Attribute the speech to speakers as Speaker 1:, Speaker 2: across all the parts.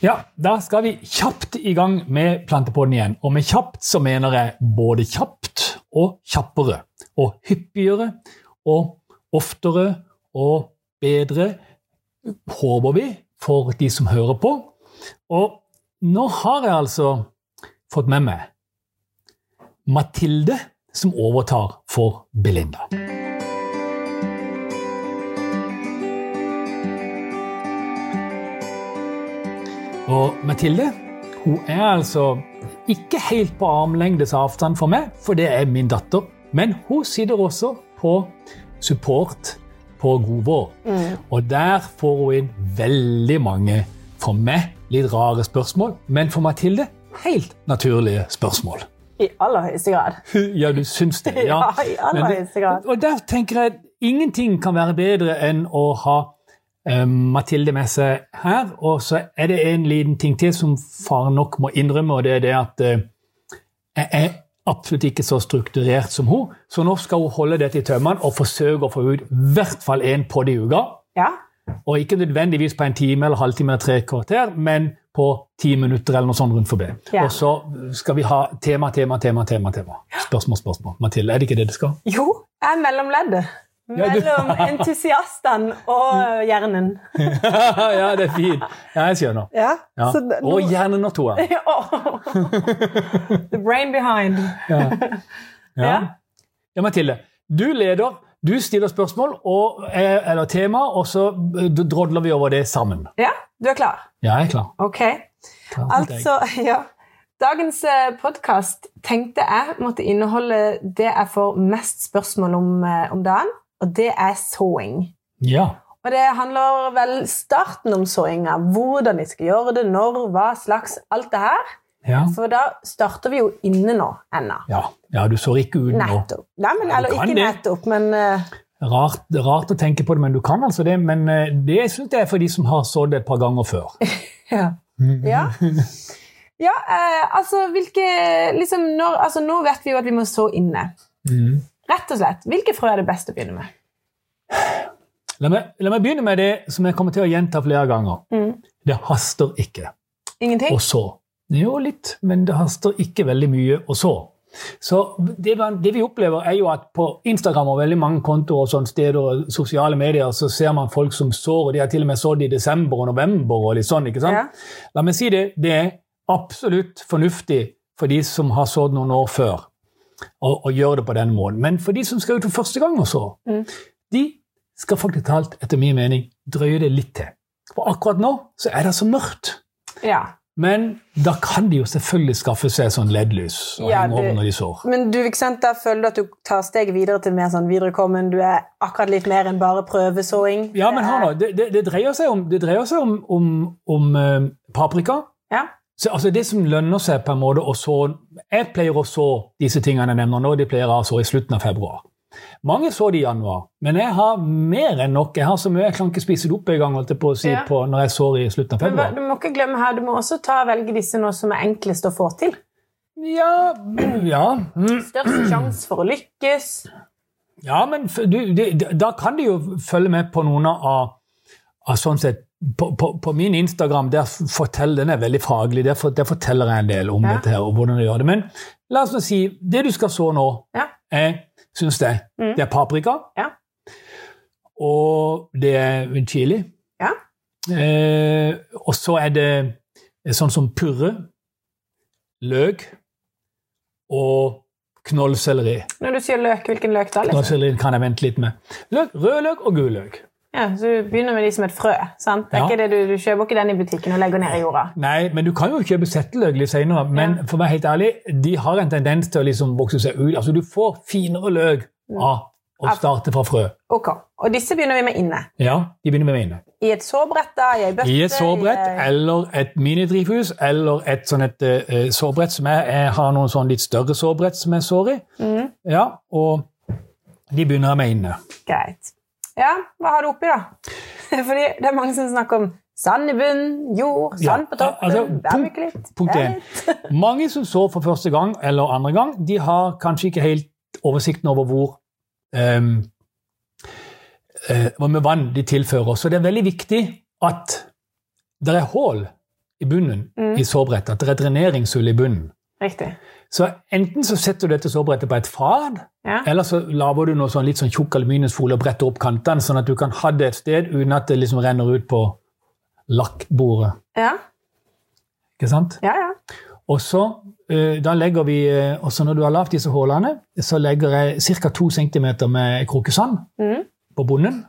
Speaker 1: Ja, Da skal vi kjapt i gang med plantepodden igjen. Og med kjapt så mener jeg både kjapt og kjappere. Og hyppigere og oftere og bedre, håper vi, for de som hører på. Og nå har jeg altså fått med meg Mathilde, som overtar for Belinda. Og Mathilde hun er altså ikke helt på armlengdes avstand for meg, for det er min datter. Men hun sitter også på support på Godvår. Og der får hun inn veldig mange, for meg, litt rare spørsmål. Men for Mathilde helt naturlige spørsmål.
Speaker 2: I aller høyeste grad.
Speaker 1: Ja, du syns det. Ja,
Speaker 2: Ja, i aller
Speaker 1: Men det-
Speaker 2: høyeste grad.
Speaker 1: Og der tenker jeg at ingenting kan være bedre enn å ha eh, Mathilde med seg her. Og så er det en liten ting til som faren nok må innrømme, og det er det at eh, jeg er absolutt ikke så strukturert som hun, så nå skal hun holde dette i tømmene og forsøke å få ut i hvert fall én podd i uka.
Speaker 2: Ja.
Speaker 1: Og ikke nødvendigvis på en time eller halvtime eller tre kvarter, men på ti minutter eller noe sånt rundt forbi.
Speaker 2: Ja.
Speaker 1: Og så skal vi ha tema, tema, tema, tema. tema. Spørsmål, spørsmål. Mathilde, er det ikke det det skal?
Speaker 2: Jo, jeg er mellomleddet.
Speaker 1: Ja, du-
Speaker 2: Mellom entusiastene og hjernen.
Speaker 1: ja, det er fint. Ja, jeg skjønner.
Speaker 2: Ja.
Speaker 1: Ja.
Speaker 2: så det-
Speaker 1: Og hjernen og toa.
Speaker 2: Ja, åh. The brain behind.
Speaker 1: Ja. Ja.
Speaker 2: Ja.
Speaker 1: ja, Mathilde. Du leder, du stiller spørsmål og, eh, eller tema, og så eh, drodler vi over det sammen.
Speaker 2: Ja, du er klar?
Speaker 1: Ja, jeg er klar.
Speaker 2: Ok.
Speaker 1: klar for deg.
Speaker 2: Altså, ja. Dagens podkast tenkte jeg måtte inneholde det jeg får mest spørsmål om eh, om dagen, og det er sewing.
Speaker 1: Ja.
Speaker 2: Og det handler vel starten om såinga. Hvordan vi skal gjøre det, når, hva slags, alt det her.
Speaker 1: Ja.
Speaker 2: For da starter vi jo inne nå, ennå.
Speaker 1: ja. Ja, du sår ikke ut nå.
Speaker 2: Nettopp. Nei, men,
Speaker 1: Ja, du
Speaker 2: eller
Speaker 1: kan
Speaker 2: ikke
Speaker 1: det.
Speaker 2: nettopp, men eh,
Speaker 1: Rart, rart å tenke på det, men du kan altså det. Men eh, det syns jeg er for de som har sådd det et par ganger før.
Speaker 2: ja. ja. Ja, eh, altså hvilke liksom, når, altså, Nå vet vi jo at vi må så inne.
Speaker 1: Mhm.
Speaker 2: Rett og slett. Hvilke frø er det best å begynne med?
Speaker 1: La, meg, la meg begynne med det som jeg kommer til å gjenta flere ganger.
Speaker 2: Mhm.
Speaker 1: Det haster ikke.
Speaker 2: Ingenting?
Speaker 1: Og så. Jo, litt, men det haster ikke veldig mye. Og så. Så det, man, det vi opplever, er jo at på Instagram og veldig mange kontoer og sånne steder, og sosiale medier, så ser man folk som sår, og de har til og med sådd i desember og november. og litt sånn, ikke sant?
Speaker 2: Ja.
Speaker 1: La meg si det, det er absolutt fornuftig for de som har sådd noen år før, å, å gjøre det på denne måten. Men for de som skal ut for første gang og så,
Speaker 2: Mm.
Speaker 1: de skal faktisk talt, etter min mening, drøye det litt til. For akkurat nå så er det så mørkt.
Speaker 2: ja.
Speaker 1: Men da kan de jo selvfølgelig skaffe seg sånn LED-lys og
Speaker 2: Ja,
Speaker 1: henge over
Speaker 2: det-
Speaker 1: når de sår.
Speaker 2: Men du, ikke sant, da føler du at du tar steget videre til mer sånn viderekommen. Du er akkurat litt mer enn bare prøvesåing.
Speaker 1: Ja, men hør nå, det, det, det dreier seg om, det dreier seg om, om, om eh, paprika.
Speaker 2: Ja.
Speaker 1: Så, altså det som lønner seg på en måte å så Jeg pleier å så disse tingene jeg nevner nå, de pleier jeg å så i slutten av februar. Mange så det i januar, men jeg har mer enn nok. Jeg har så mye jeg kan ikke spise det opp en gang holdt jeg på å si,
Speaker 2: Ja.
Speaker 1: på, når jeg sår i slutten av
Speaker 2: Men hva,
Speaker 1: februar.
Speaker 2: du må ikke glemme her, du må også ta velge disse nå som er enklest å få til.
Speaker 1: Ja, ja. Mm.
Speaker 2: Størst sjanse for å lykkes.
Speaker 1: Ja, men f- du, det- da kan du jo følge med på noen av, av sånn sett, på, på, på min Instagram der f- forteller den er veldig faglig, der, for, der forteller jeg en del om
Speaker 2: Ja.
Speaker 1: dette her, og hvordan du gjør det. Men la oss nå si, det du skal så nå,
Speaker 2: Ja.
Speaker 1: er, synes jeg,
Speaker 2: Mm.
Speaker 1: det er paprika,
Speaker 2: Ja.
Speaker 1: og det er chili,
Speaker 2: Ja.
Speaker 1: eh, og så er det sånn som purre, løk og knollselleri.
Speaker 2: Når du sier løk, hvilken løk da? Liksom?
Speaker 1: Knallsellerien kan jeg vente litt med. Løk, rød løk og gul løk.
Speaker 2: Ja, så du begynner med de som et frø. sant? Det er
Speaker 1: Ja.
Speaker 2: ikke det du, du kjøper ikke den i butikken og legger ned i jorda.
Speaker 1: Nei, men du kan jo kjøpe setteløk litt senere. Men
Speaker 2: Ja.
Speaker 1: for å være helt ærlig, de har en tendens til å liksom vokse seg ut. Altså, du får finere løk av å
Speaker 2: Av-
Speaker 1: starte fra frø.
Speaker 2: Ok, Og disse begynner vi med inne.
Speaker 1: Ja, de begynner med mine.
Speaker 2: I et sårbrett, da, i ei bøtte
Speaker 1: I et sårbrett eh.
Speaker 2: i-
Speaker 1: eller et minidrivhus eller et sånn et eh, eh, sårbrett som jeg, jeg har noen sånn litt større sårbrett som jeg sår i.
Speaker 2: Mhm,
Speaker 1: Ja, og de begynner jeg med inne.
Speaker 2: greit. Ja, hva har du oppi, da? Fordi det er mange som snakker om sand i bunnen, jord,
Speaker 1: Ja,
Speaker 2: sand på toppen,
Speaker 1: altså, punkt-
Speaker 2: værmyklitt
Speaker 1: punkt én. Mange som så for første gang eller andre gang, de har kanskje ikke helt oversikten over hvor ehm, eh, hvor mye vann de tilfører. Så det er veldig viktig at det er hull i bunnen
Speaker 2: Mm.
Speaker 1: i sårbrettet. At det er et dreneringshull i bunnen.
Speaker 2: Riktig.
Speaker 1: Så enten så setter du dette sårbrettet på et fad,
Speaker 2: Ja.
Speaker 1: eller så lager du noe sånn litt sånn tjukk aluminiumsfolie og bretter opp kantene, sånn at du kan ha det et sted uten at det liksom renner ut på lakkbordet.
Speaker 2: Ja,
Speaker 1: Ikke sant?
Speaker 2: ja. ja.
Speaker 1: Og så eh, da legger vi, eh, også når du har lavt disse hålene, så legger jeg ca. 2 cm med krokesand
Speaker 2: Mm.
Speaker 1: på bunnen.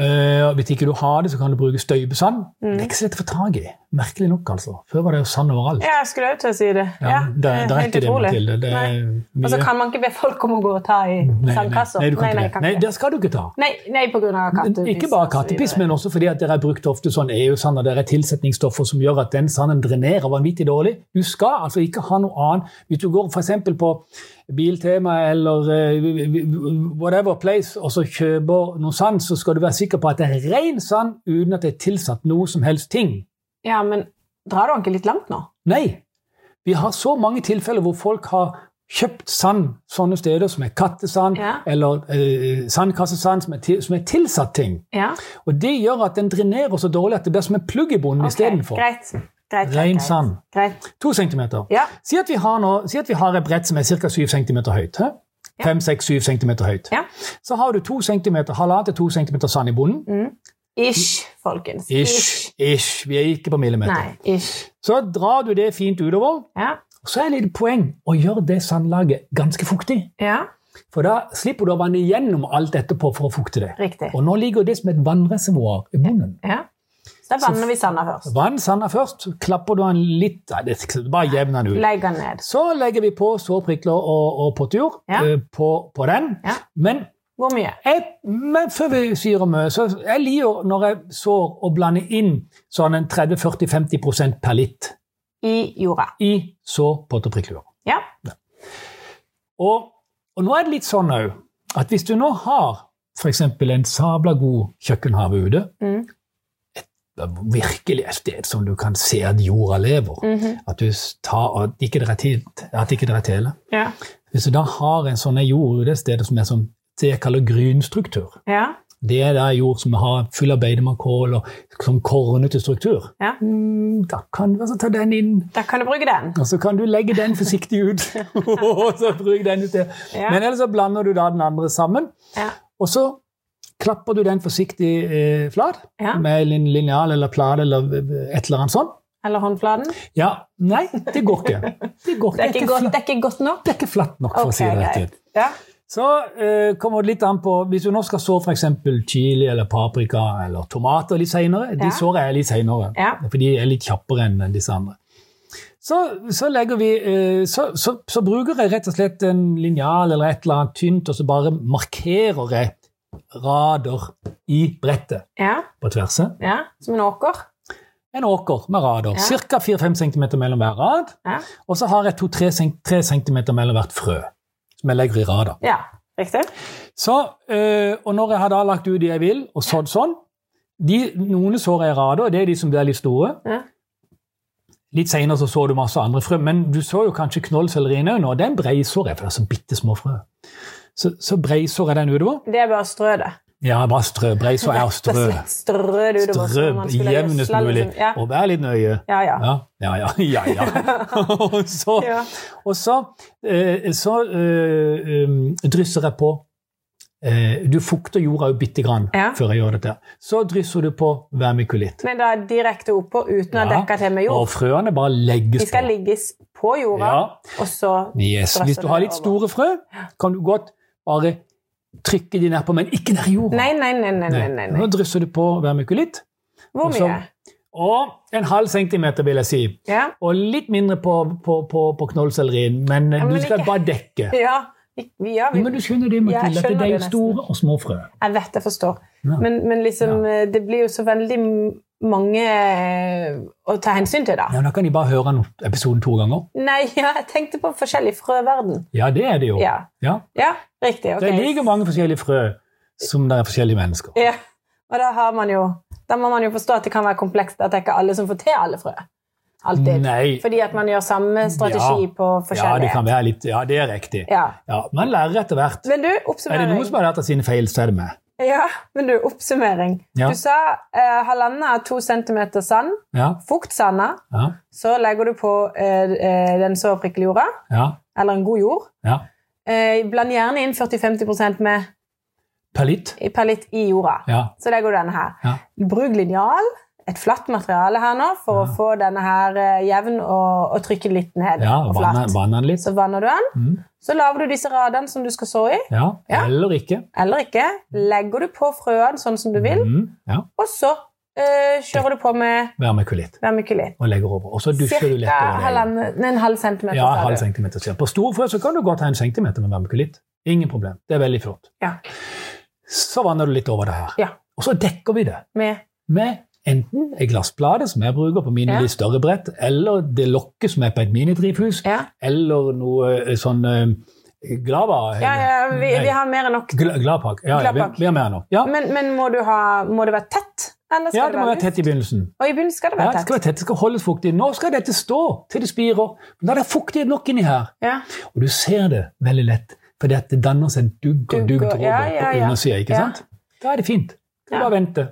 Speaker 1: Eh, og hvis ikke du har det, så kan du bruke støybesand.
Speaker 2: Mm.
Speaker 1: Det er ikke så lett å få tak i. Merkelig nok, altså. Før var det jo sand overalt.
Speaker 2: ja jeg skulle jo til å si det. Ja,
Speaker 1: det, det er
Speaker 2: helt
Speaker 1: ikke det,
Speaker 2: utrolig.
Speaker 1: Mathilde. Det er mye.
Speaker 2: Og så kan man ikke be folk om å gå og ta i
Speaker 1: Nei, nei,
Speaker 2: sandkassa.
Speaker 1: nei, du kan
Speaker 2: nei,
Speaker 1: ikke det. Nei,
Speaker 2: nei, jeg kan ikke.
Speaker 1: det skal du ikke ta.
Speaker 2: Nei, nei, på grunn av kattepiss.
Speaker 1: Ikke bare
Speaker 2: og så
Speaker 1: kattepiss,
Speaker 2: videre.
Speaker 1: men også fordi at dere har brukt ofte sånn EU-sand, og dere har tilsetningsstoffer som gjør at den sanden drenerer vanvittig dårlig. Du skal altså ikke ha noe annet. Hvis du går f.eks. på Biltema eller eh, whatever place og så kjøper noe sand, så skal du være sikker på at det er ren sand uten at det er tilsatt noe som helst ting.
Speaker 2: Ja, men drar du den ikke litt langt nå?
Speaker 1: Nei. Vi har så mange tilfeller hvor folk har kjøpt sand sånne steder som er kattesand
Speaker 2: Ja.
Speaker 1: eller eh, sandkassesand som er, til, som er tilsatt ting.
Speaker 2: Ja,
Speaker 1: Og det gjør at den drenerer så dårlig at det blir som en plugg i bunnen
Speaker 2: ok,
Speaker 1: istedenfor.
Speaker 2: Greit. greit, greit,
Speaker 1: Ren
Speaker 2: greit.
Speaker 1: sand.
Speaker 2: Greit.
Speaker 1: To centimeter.
Speaker 2: Ja,
Speaker 1: Si at vi har, nå, si at vi har et brett som er ca. 7 cm høyt. Hæ?
Speaker 2: Ja.
Speaker 1: 5-6-7 cm høyt.
Speaker 2: Ja.
Speaker 1: Så har du 2 cm, halvannen til 2 cm sand i bunnen.
Speaker 2: Mm. ish, folkens.
Speaker 1: Ish, ish. Vi er ikke på millimeter.
Speaker 2: Nei, ish.
Speaker 1: Så drar du det fint utover.
Speaker 2: Ja,
Speaker 1: Og så er det et poeng å gjøre det sandlaget ganske fuktig.
Speaker 2: ja,
Speaker 1: For da slipper du å vanne gjennom alt etterpå for å fukte det.
Speaker 2: riktig.
Speaker 1: Og nå ligger det som et vannreservoar i bunnen.
Speaker 2: Ja. Så da vanner vi sanda først.
Speaker 1: Vann sanda først, klapper du den litt Nei, det, bare jevner den ut.
Speaker 2: Legg den ned.
Speaker 1: Så legger vi på sårprikler og, og pottejord
Speaker 2: Ja.
Speaker 1: eh, på, på den.
Speaker 2: Ja.
Speaker 1: Men,
Speaker 2: Hvor mye?
Speaker 1: jeg, men før vi sier om mye, så jeg liker når jeg sår å blande inn sånn en 30-40-50 per litt
Speaker 2: I jorda.
Speaker 1: i sår, pott og prikkelur.
Speaker 2: Ja.
Speaker 1: Og, og nå er det litt sånn òg at hvis du nå har f.eks. en sabla god kjøkkenhave ute,
Speaker 2: Mm.
Speaker 1: det er virkelig et sted som du kan se at jorda lever,
Speaker 2: Mhm.
Speaker 1: at, du s- tar, at ikke det er tilt- at ikke det er tele
Speaker 2: ja.
Speaker 1: Hvis du da har en sånn jord i det stedet som er sånn, det jeg kaller grynstruktur,
Speaker 2: Ja.
Speaker 1: det er da jord som har full av beitemarkål og sånn kornete struktur,
Speaker 2: Ja.
Speaker 1: Mm, da kan du altså ta den inn,
Speaker 2: Da kan du bruke den.
Speaker 1: og så kan du legge den forsiktig ut, og så bruk den ut det.
Speaker 2: Ja.
Speaker 1: Men ellers så blander du da den andre sammen,
Speaker 2: Ja.
Speaker 1: og så klapper du den forsiktig eh, flat,
Speaker 2: Ja.
Speaker 1: med en linjal eller plate eller et eller annet sånn.
Speaker 2: Eller håndflaten.
Speaker 1: Ja, nei, det går ikke. Det går ikke.
Speaker 2: Det er ikke godt,
Speaker 1: flatt-
Speaker 2: det er ikke godt nok.
Speaker 1: det er ikke flatt nok, for
Speaker 2: Ok,
Speaker 1: å si det rett
Speaker 2: greit.
Speaker 1: ut.
Speaker 2: Ja.
Speaker 1: Så eh, kommer det litt an på Hvis du nå skal så f.eks. chili eller paprika eller tomater litt senere De
Speaker 2: Ja.
Speaker 1: sår jeg litt senere,
Speaker 2: Ja.
Speaker 1: for de er litt kjappere enn disse andre. Så, så, legger vi, eh, så, så, så bruker jeg rett og slett en linjal eller et eller annet tynt, og så bare markerer jeg rader i brettet
Speaker 2: Ja.
Speaker 1: på tverset.
Speaker 2: ja. Som en åker.
Speaker 1: En åker med rader.
Speaker 2: Ja.
Speaker 1: Ca. 4-5 cm mellom hver rad.
Speaker 2: Ja.
Speaker 1: Og så har jeg 2-3 cm mellom hvert frø, som jeg legger i rader.
Speaker 2: ja. Riktig.
Speaker 1: Så, øh, og når jeg har da lagt ut de jeg vil, og sådd sånn de, Noen sår er i rader, og det er de som blir litt store.
Speaker 2: Ja.
Speaker 1: Litt seinere så, så du masse andre frø, men du så jo kanskje knollsellerien òg nå. Den breisår jeg, for det er så bitte små frø. Så, så breisår jeg den utover.
Speaker 2: Det er bare å strø det.
Speaker 1: Ja, bare strø. Breisår er å
Speaker 2: Rett
Speaker 1: strø.
Speaker 2: og slett Strø det utover.
Speaker 1: Strø
Speaker 2: som om man skulle
Speaker 1: jevnest
Speaker 2: gjødsle,
Speaker 1: mulig.
Speaker 2: liksom. Ja.
Speaker 1: Og vær litt nøye.
Speaker 2: Ja, ja.
Speaker 1: Ja, ja, ja. ja, ja. og så,
Speaker 2: ja.
Speaker 1: og så, eh, så eh, um, drysser jeg på eh, Du fukter jorda jo bitte grann
Speaker 2: Ja.
Speaker 1: før jeg gjør dette. Så drysser du på vermikulitt.
Speaker 2: Men da direkte oppå uten å
Speaker 1: Ja.
Speaker 2: dekke til med
Speaker 1: Og
Speaker 2: jord.
Speaker 1: frøene bare
Speaker 2: De
Speaker 1: legges
Speaker 2: skal
Speaker 1: på.
Speaker 2: ligges på jorda,
Speaker 1: Ja.
Speaker 2: og så
Speaker 1: Yes. Hvis du har litt store frø, kan du godt bare trykke de nedpå, men ikke ned i jorda.
Speaker 2: Nei, nei, nei. nei, nei, nei, nei.
Speaker 1: Nå drysser du på vermikulitt.
Speaker 2: Hvor
Speaker 1: Og så-
Speaker 2: mye?
Speaker 1: Og en halv centimeter, vil jeg si.
Speaker 2: Ja.
Speaker 1: Og litt mindre på, på, på, på knollsellerien, men, eh,
Speaker 2: Ja, men
Speaker 1: du skal
Speaker 2: ikke-
Speaker 1: bare dekke.
Speaker 2: ja. vi- vi-
Speaker 1: Ja,
Speaker 2: ja vi,
Speaker 1: Men du skjønner det,
Speaker 2: Ja, jeg
Speaker 1: Mathilde, at det er
Speaker 2: skjønner det
Speaker 1: jo
Speaker 2: nesten.
Speaker 1: store og små frø.
Speaker 2: jeg vet jeg forstår.
Speaker 1: Ja.
Speaker 2: Men, men liksom, eh, det blir jo så veldig m- mange eh, å ta hensyn til, da.
Speaker 1: Ja, Da kan de bare høre den episoden to ganger.
Speaker 2: Nei, ja, jeg tenkte på forskjellig frøverden.
Speaker 1: Ja, det er det jo.
Speaker 2: Ja,
Speaker 1: Ja.
Speaker 2: ja riktig. ok.
Speaker 1: Det er like mange forskjellige frø som det er forskjellige mennesker.
Speaker 2: Ja, og da har man jo Da må man jo forstå at det kan være komplekst, at det er ikke alle som får til alle frø. Alltid.
Speaker 1: Nei.
Speaker 2: Fordi at man gjør samme strategi
Speaker 1: Ja.
Speaker 2: på
Speaker 1: Ja, det
Speaker 2: forskjellige.
Speaker 1: kan være litt, ja, det er riktig.
Speaker 2: Ja.
Speaker 1: Ja, Man lærer etter hvert.
Speaker 2: Men du,
Speaker 1: Er det
Speaker 2: oppsummering.
Speaker 1: noen som har lært av sine feil, så er det meg.
Speaker 2: Ja, men du, oppsummering.
Speaker 1: Ja.
Speaker 2: Du sa eh, halvannen to centimeter sand,
Speaker 1: Ja,
Speaker 2: fuktsanda.
Speaker 1: ja,
Speaker 2: Så legger du på eh, eh, den såprikkelige jorda,
Speaker 1: ja.
Speaker 2: eller en god jord.
Speaker 1: ja.
Speaker 2: Eh, bland gjerne inn 40-50 med
Speaker 1: Per litt.
Speaker 2: i- per litt i jorda.
Speaker 1: Ja.
Speaker 2: Så legger du denne her.
Speaker 1: Ja.
Speaker 2: Bruk linjal, et flatt materiale her nå, for
Speaker 1: Ja.
Speaker 2: å få denne her eh, jevn og, og trykke litt ned.
Speaker 1: Ja,
Speaker 2: og
Speaker 1: vann
Speaker 2: flatt.
Speaker 1: den litt.
Speaker 2: Så vanner du den.
Speaker 1: Mm.
Speaker 2: Så lager du disse radene som du skal så i,
Speaker 1: Ja.
Speaker 2: Ja.
Speaker 1: Eller ikke.
Speaker 2: eller ikke. Legger du på frøene sånn som du vil,
Speaker 1: Mm. Ja.
Speaker 2: og så eh, kjører du på med
Speaker 1: Vermekulitt.
Speaker 2: vermikulitt.
Speaker 1: Og legger over. Og så dusjer du litt
Speaker 2: Cirka
Speaker 1: over det.
Speaker 2: halvannen- nei, en halv centimeter.
Speaker 1: Ja,
Speaker 2: sa
Speaker 1: halv
Speaker 2: du.
Speaker 1: centimeter skjer. På store frø så kan du godt ha en centimeter med vermekulitt. Ingen problem. Det er veldig flott.
Speaker 2: Ja.
Speaker 1: Så vanner du litt over det her.
Speaker 2: Ja.
Speaker 1: Og så dekker vi det
Speaker 2: Med,
Speaker 1: med enten en glassplate, som jeg bruker på mine
Speaker 2: Ja.
Speaker 1: litt større brett, eller det lokket som er på et minidrivhus,
Speaker 2: ja.
Speaker 1: eller noe eh, sånn eh, glava...
Speaker 2: Ja, ja, vi,
Speaker 1: Nei,
Speaker 2: vi har mer enn nok.
Speaker 1: gla- Gladpak. Ja, ja, vi,
Speaker 2: Gladpak.
Speaker 1: vi har mer nå. Ja,
Speaker 2: Men, men må, du ha, må det være tett? Eller Mm, skal
Speaker 1: ja det må være
Speaker 2: luft?
Speaker 1: tett i begynnelsen.
Speaker 2: Og i bunnen skal det
Speaker 1: Ja,
Speaker 2: være
Speaker 1: det skal
Speaker 2: tett.
Speaker 1: være tett, det skal holdes fuktig. Nå skal dette stå til det spirer. Men da er det fuktighet nok inni her.
Speaker 2: Ja.
Speaker 1: Og du ser det veldig lett, for det danner seg dugg og
Speaker 2: Dugg
Speaker 1: dugg
Speaker 2: og-
Speaker 1: tråder
Speaker 2: ja, ja,
Speaker 1: på
Speaker 2: ja.
Speaker 1: undersida. ikke
Speaker 2: Ja.
Speaker 1: sant? Da er det fint. Du
Speaker 2: Ja.
Speaker 1: bare venter.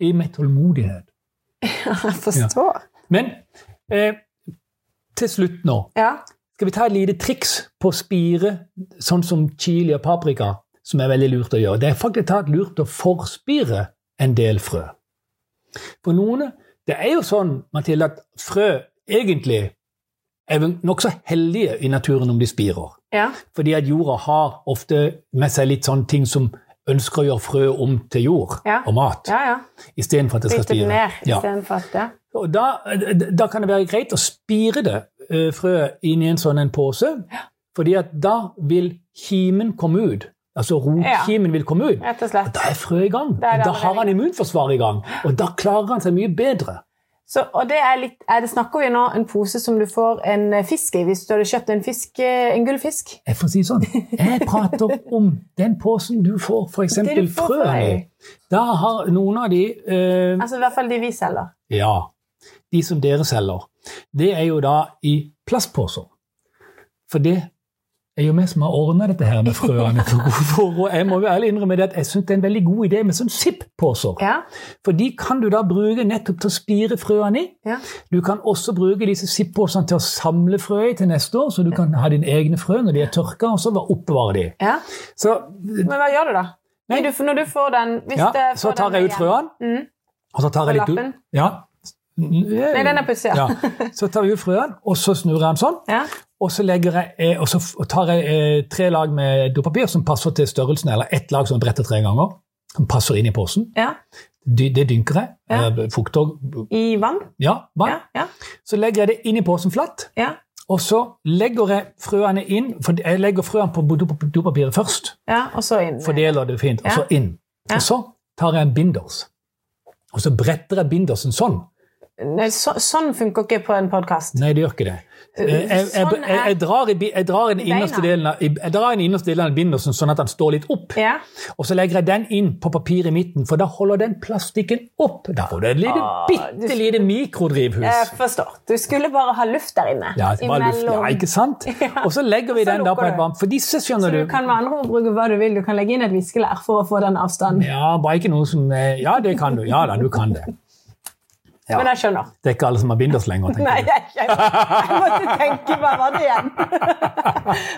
Speaker 1: I med tålmodighet.
Speaker 2: Jeg forstår.
Speaker 1: Men eh, til slutt nå
Speaker 2: Ja.
Speaker 1: skal vi ta et lite triks på spire, sånn som chili og paprika, som er veldig lurt å gjøre. Det er faktisk tatt lurt å forspire en del frø. For noen Det er jo sånn, Mathilde, at frø egentlig er nokså heldige i naturen om de spirer.
Speaker 2: ja.
Speaker 1: Fordi at jorda har ofte med seg litt sånne ting som ønsker å gjøre frø om til jord
Speaker 2: Ja.
Speaker 1: og mat,
Speaker 2: Ja, ja.
Speaker 1: istedenfor at det skal
Speaker 2: Bryte det
Speaker 1: spire.
Speaker 2: ned
Speaker 1: Ja.
Speaker 2: istedenfor at det
Speaker 1: Og da, da kan det være greit å spire det eh, frøet inn i en sånn en pose, fordi at da vil kimen komme ut. Altså rotkimen vil komme ut.
Speaker 2: Rett og slett.
Speaker 1: Da er frøet i gang.
Speaker 2: Da er det
Speaker 1: Da
Speaker 2: allerede
Speaker 1: har han
Speaker 2: i
Speaker 1: immunforsvaret i gang, og da klarer han seg mye bedre.
Speaker 2: Så, og det er litt er det Snakker vi nå en pose som du får en eh, fisk i hvis du hadde kjøpt en fisk, eh, en gullfisk?
Speaker 1: Jeg får si sånn, jeg prater om den posen du får f.eks.
Speaker 2: Det du får
Speaker 1: frø
Speaker 2: frø
Speaker 1: i.
Speaker 2: i.
Speaker 1: Da har noen av de eh,
Speaker 2: Altså i hvert fall de vi selger.
Speaker 1: Ja. De som dere selger. Det er jo da i plastposer. For det er jo vi som har ordna dette her med frøene. For, for, og jeg må jo ærlig innrømme det at jeg syns det er en veldig god idé med sånn Zipp-poser.
Speaker 2: Ja,
Speaker 1: For de kan du da bruke nettopp til å spire frøene i.
Speaker 2: ja.
Speaker 1: Du kan også bruke disse Zipp-posene til å samle frø i til neste år, så du kan ha dine egne frø når de er tørka, og så bare oppbevare de.
Speaker 2: ja.
Speaker 1: Så,
Speaker 2: Men hva gjør du da?
Speaker 1: Nei.
Speaker 2: Når du, når du får den hvis
Speaker 1: ja,
Speaker 2: det-
Speaker 1: så
Speaker 2: får
Speaker 1: tar
Speaker 2: den
Speaker 1: jeg ut
Speaker 2: igjen.
Speaker 1: frøene,
Speaker 2: Mm.
Speaker 1: og så tar jeg
Speaker 2: På
Speaker 1: litt ut
Speaker 2: lappen?
Speaker 1: Ja.
Speaker 2: Nei, den er pussig. Ja.
Speaker 1: Ja. Så tar vi ut frøene, og så snur jeg den sånn.
Speaker 2: Ja.
Speaker 1: Og så, legger jeg, eh, og så f- og tar jeg eh, tre lag med dopapir som passer til størrelsen, eller ett lag som bretter tre ganger, som passer inn i posen.
Speaker 2: ja.
Speaker 1: Dy- Det dynker jeg.
Speaker 2: Ja.
Speaker 1: eh, Fukter
Speaker 2: I vann?
Speaker 1: Ja, vann.
Speaker 2: Ja. ja,
Speaker 1: Så legger jeg det inn i posen flatt,
Speaker 2: ja,
Speaker 1: og så legger jeg frøene inn For jeg legger frøene på dop- dopapiret først,
Speaker 2: ja. Og så inn.
Speaker 1: fordeler det fint, og så inn.
Speaker 2: Ja.
Speaker 1: Og så tar jeg en binders, og så bretter jeg bindersen sånn.
Speaker 2: Nei, så, sånn funker ikke på en podkast.
Speaker 1: Nei, det gjør ikke det. Eh, Jeg, jeg, jeg,
Speaker 2: Sånn er-
Speaker 1: jeg, drar, i, bi- jeg drar i den innerste
Speaker 2: Beina.
Speaker 1: delen av, jeg jeg drar i den innerste delen av bindersen sånn at den står litt opp.
Speaker 2: Ja.
Speaker 1: Og så legger jeg den inn på papiret i midten, for da holder den plastikken opp. Da får du et lite,
Speaker 2: Åh,
Speaker 1: bitte lite
Speaker 2: Jeg
Speaker 1: mikrodrivhus.
Speaker 2: forstår. Du skulle bare ha luft der inne.
Speaker 1: Ja, det var luft, ja,
Speaker 2: Imellom.
Speaker 1: ikke sant? Og så legger vi
Speaker 2: Så
Speaker 1: den da på
Speaker 2: lukker
Speaker 1: et
Speaker 2: du.
Speaker 1: varmt For disse,
Speaker 2: Så
Speaker 1: skjønner
Speaker 2: du
Speaker 1: du
Speaker 2: kan med andre ord bruke hva du vil. Du kan legge inn et viskelær for å få den avstanden.
Speaker 1: Ja, bare ikke noe som eh, Ja, det kan du. Ja da, du kan det. Ja.
Speaker 2: Men jeg skjønner.
Speaker 1: Det er ikke alle som har binders lenger,
Speaker 2: Nei,
Speaker 1: tenker du.
Speaker 2: jeg, jeg, jeg måtte tenke hva var det igjen.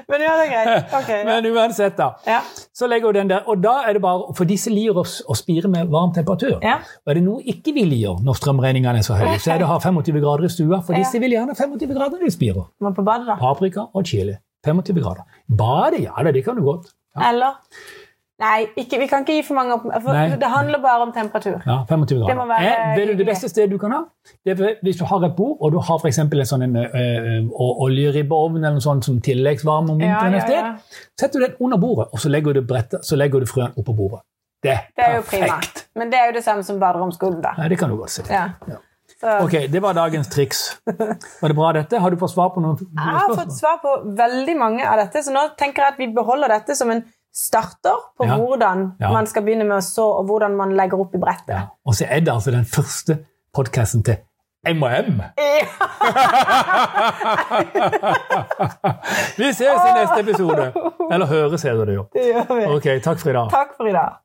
Speaker 2: Men ja, det er greit. Ok, ja.
Speaker 1: Men uansett, da.
Speaker 2: ja.
Speaker 1: Så legger du den der, og da er det bare, for disse liker å, s- å spire med varm temperatur.
Speaker 2: Ja.
Speaker 1: Og er det noe ikke vi liker når strømregningene er så høye, så er det å ha 25 grader i stua, for
Speaker 2: Ja.
Speaker 1: disse vil gjerne ha 25 grader når de spirer.
Speaker 2: Må på badet, da.
Speaker 1: Paprika og chili. 25 grader. Badet, ja da, det kan du godt.
Speaker 2: Eller Nei, ikke, vi kan ikke gi for mange opp...
Speaker 1: Nei.
Speaker 2: For det handler bare om temperatur.
Speaker 1: Ja, 25 grader.
Speaker 2: Det må være
Speaker 1: Eh, vet du, det
Speaker 2: hyggelig.
Speaker 1: beste stedet du kan ha, det er hvis du har et bord, og du har for eksempel en sånn en, eh, o- oljeribbeovn eller noe sånt som tilleggsvarme om
Speaker 2: Ja,
Speaker 1: vinteren
Speaker 2: ja,
Speaker 1: et sted,
Speaker 2: ja.
Speaker 1: setter du den under bordet, og så legger du, brettet- så legger du frøen oppå bordet. Det er,
Speaker 2: Det er jo prima.
Speaker 1: perfekt.
Speaker 2: Men det er jo det samme som baderomsgulv, da.
Speaker 1: Nei, det kan du godt se.
Speaker 2: Ja.
Speaker 1: Ja.
Speaker 2: Så
Speaker 1: Ok, det var dagens triks. Var det bra, dette? Har du fått svar på noen noen
Speaker 2: jeg har fått svar på veldig mange av dette, så nå tenker jeg at vi beholder dette som en starter på
Speaker 1: Ja.
Speaker 2: hvordan
Speaker 1: Ja.
Speaker 2: man skal begynne med å så, og hvordan man legger opp i brettet.
Speaker 1: Ja. Og så er det altså den første podkasten til M&M.
Speaker 2: Ja.
Speaker 1: Vi ses i neste episode. Eller høres, heter det jo.
Speaker 2: Det gjør vi.
Speaker 1: Ok, takk for i dag.
Speaker 2: Takk for i dag.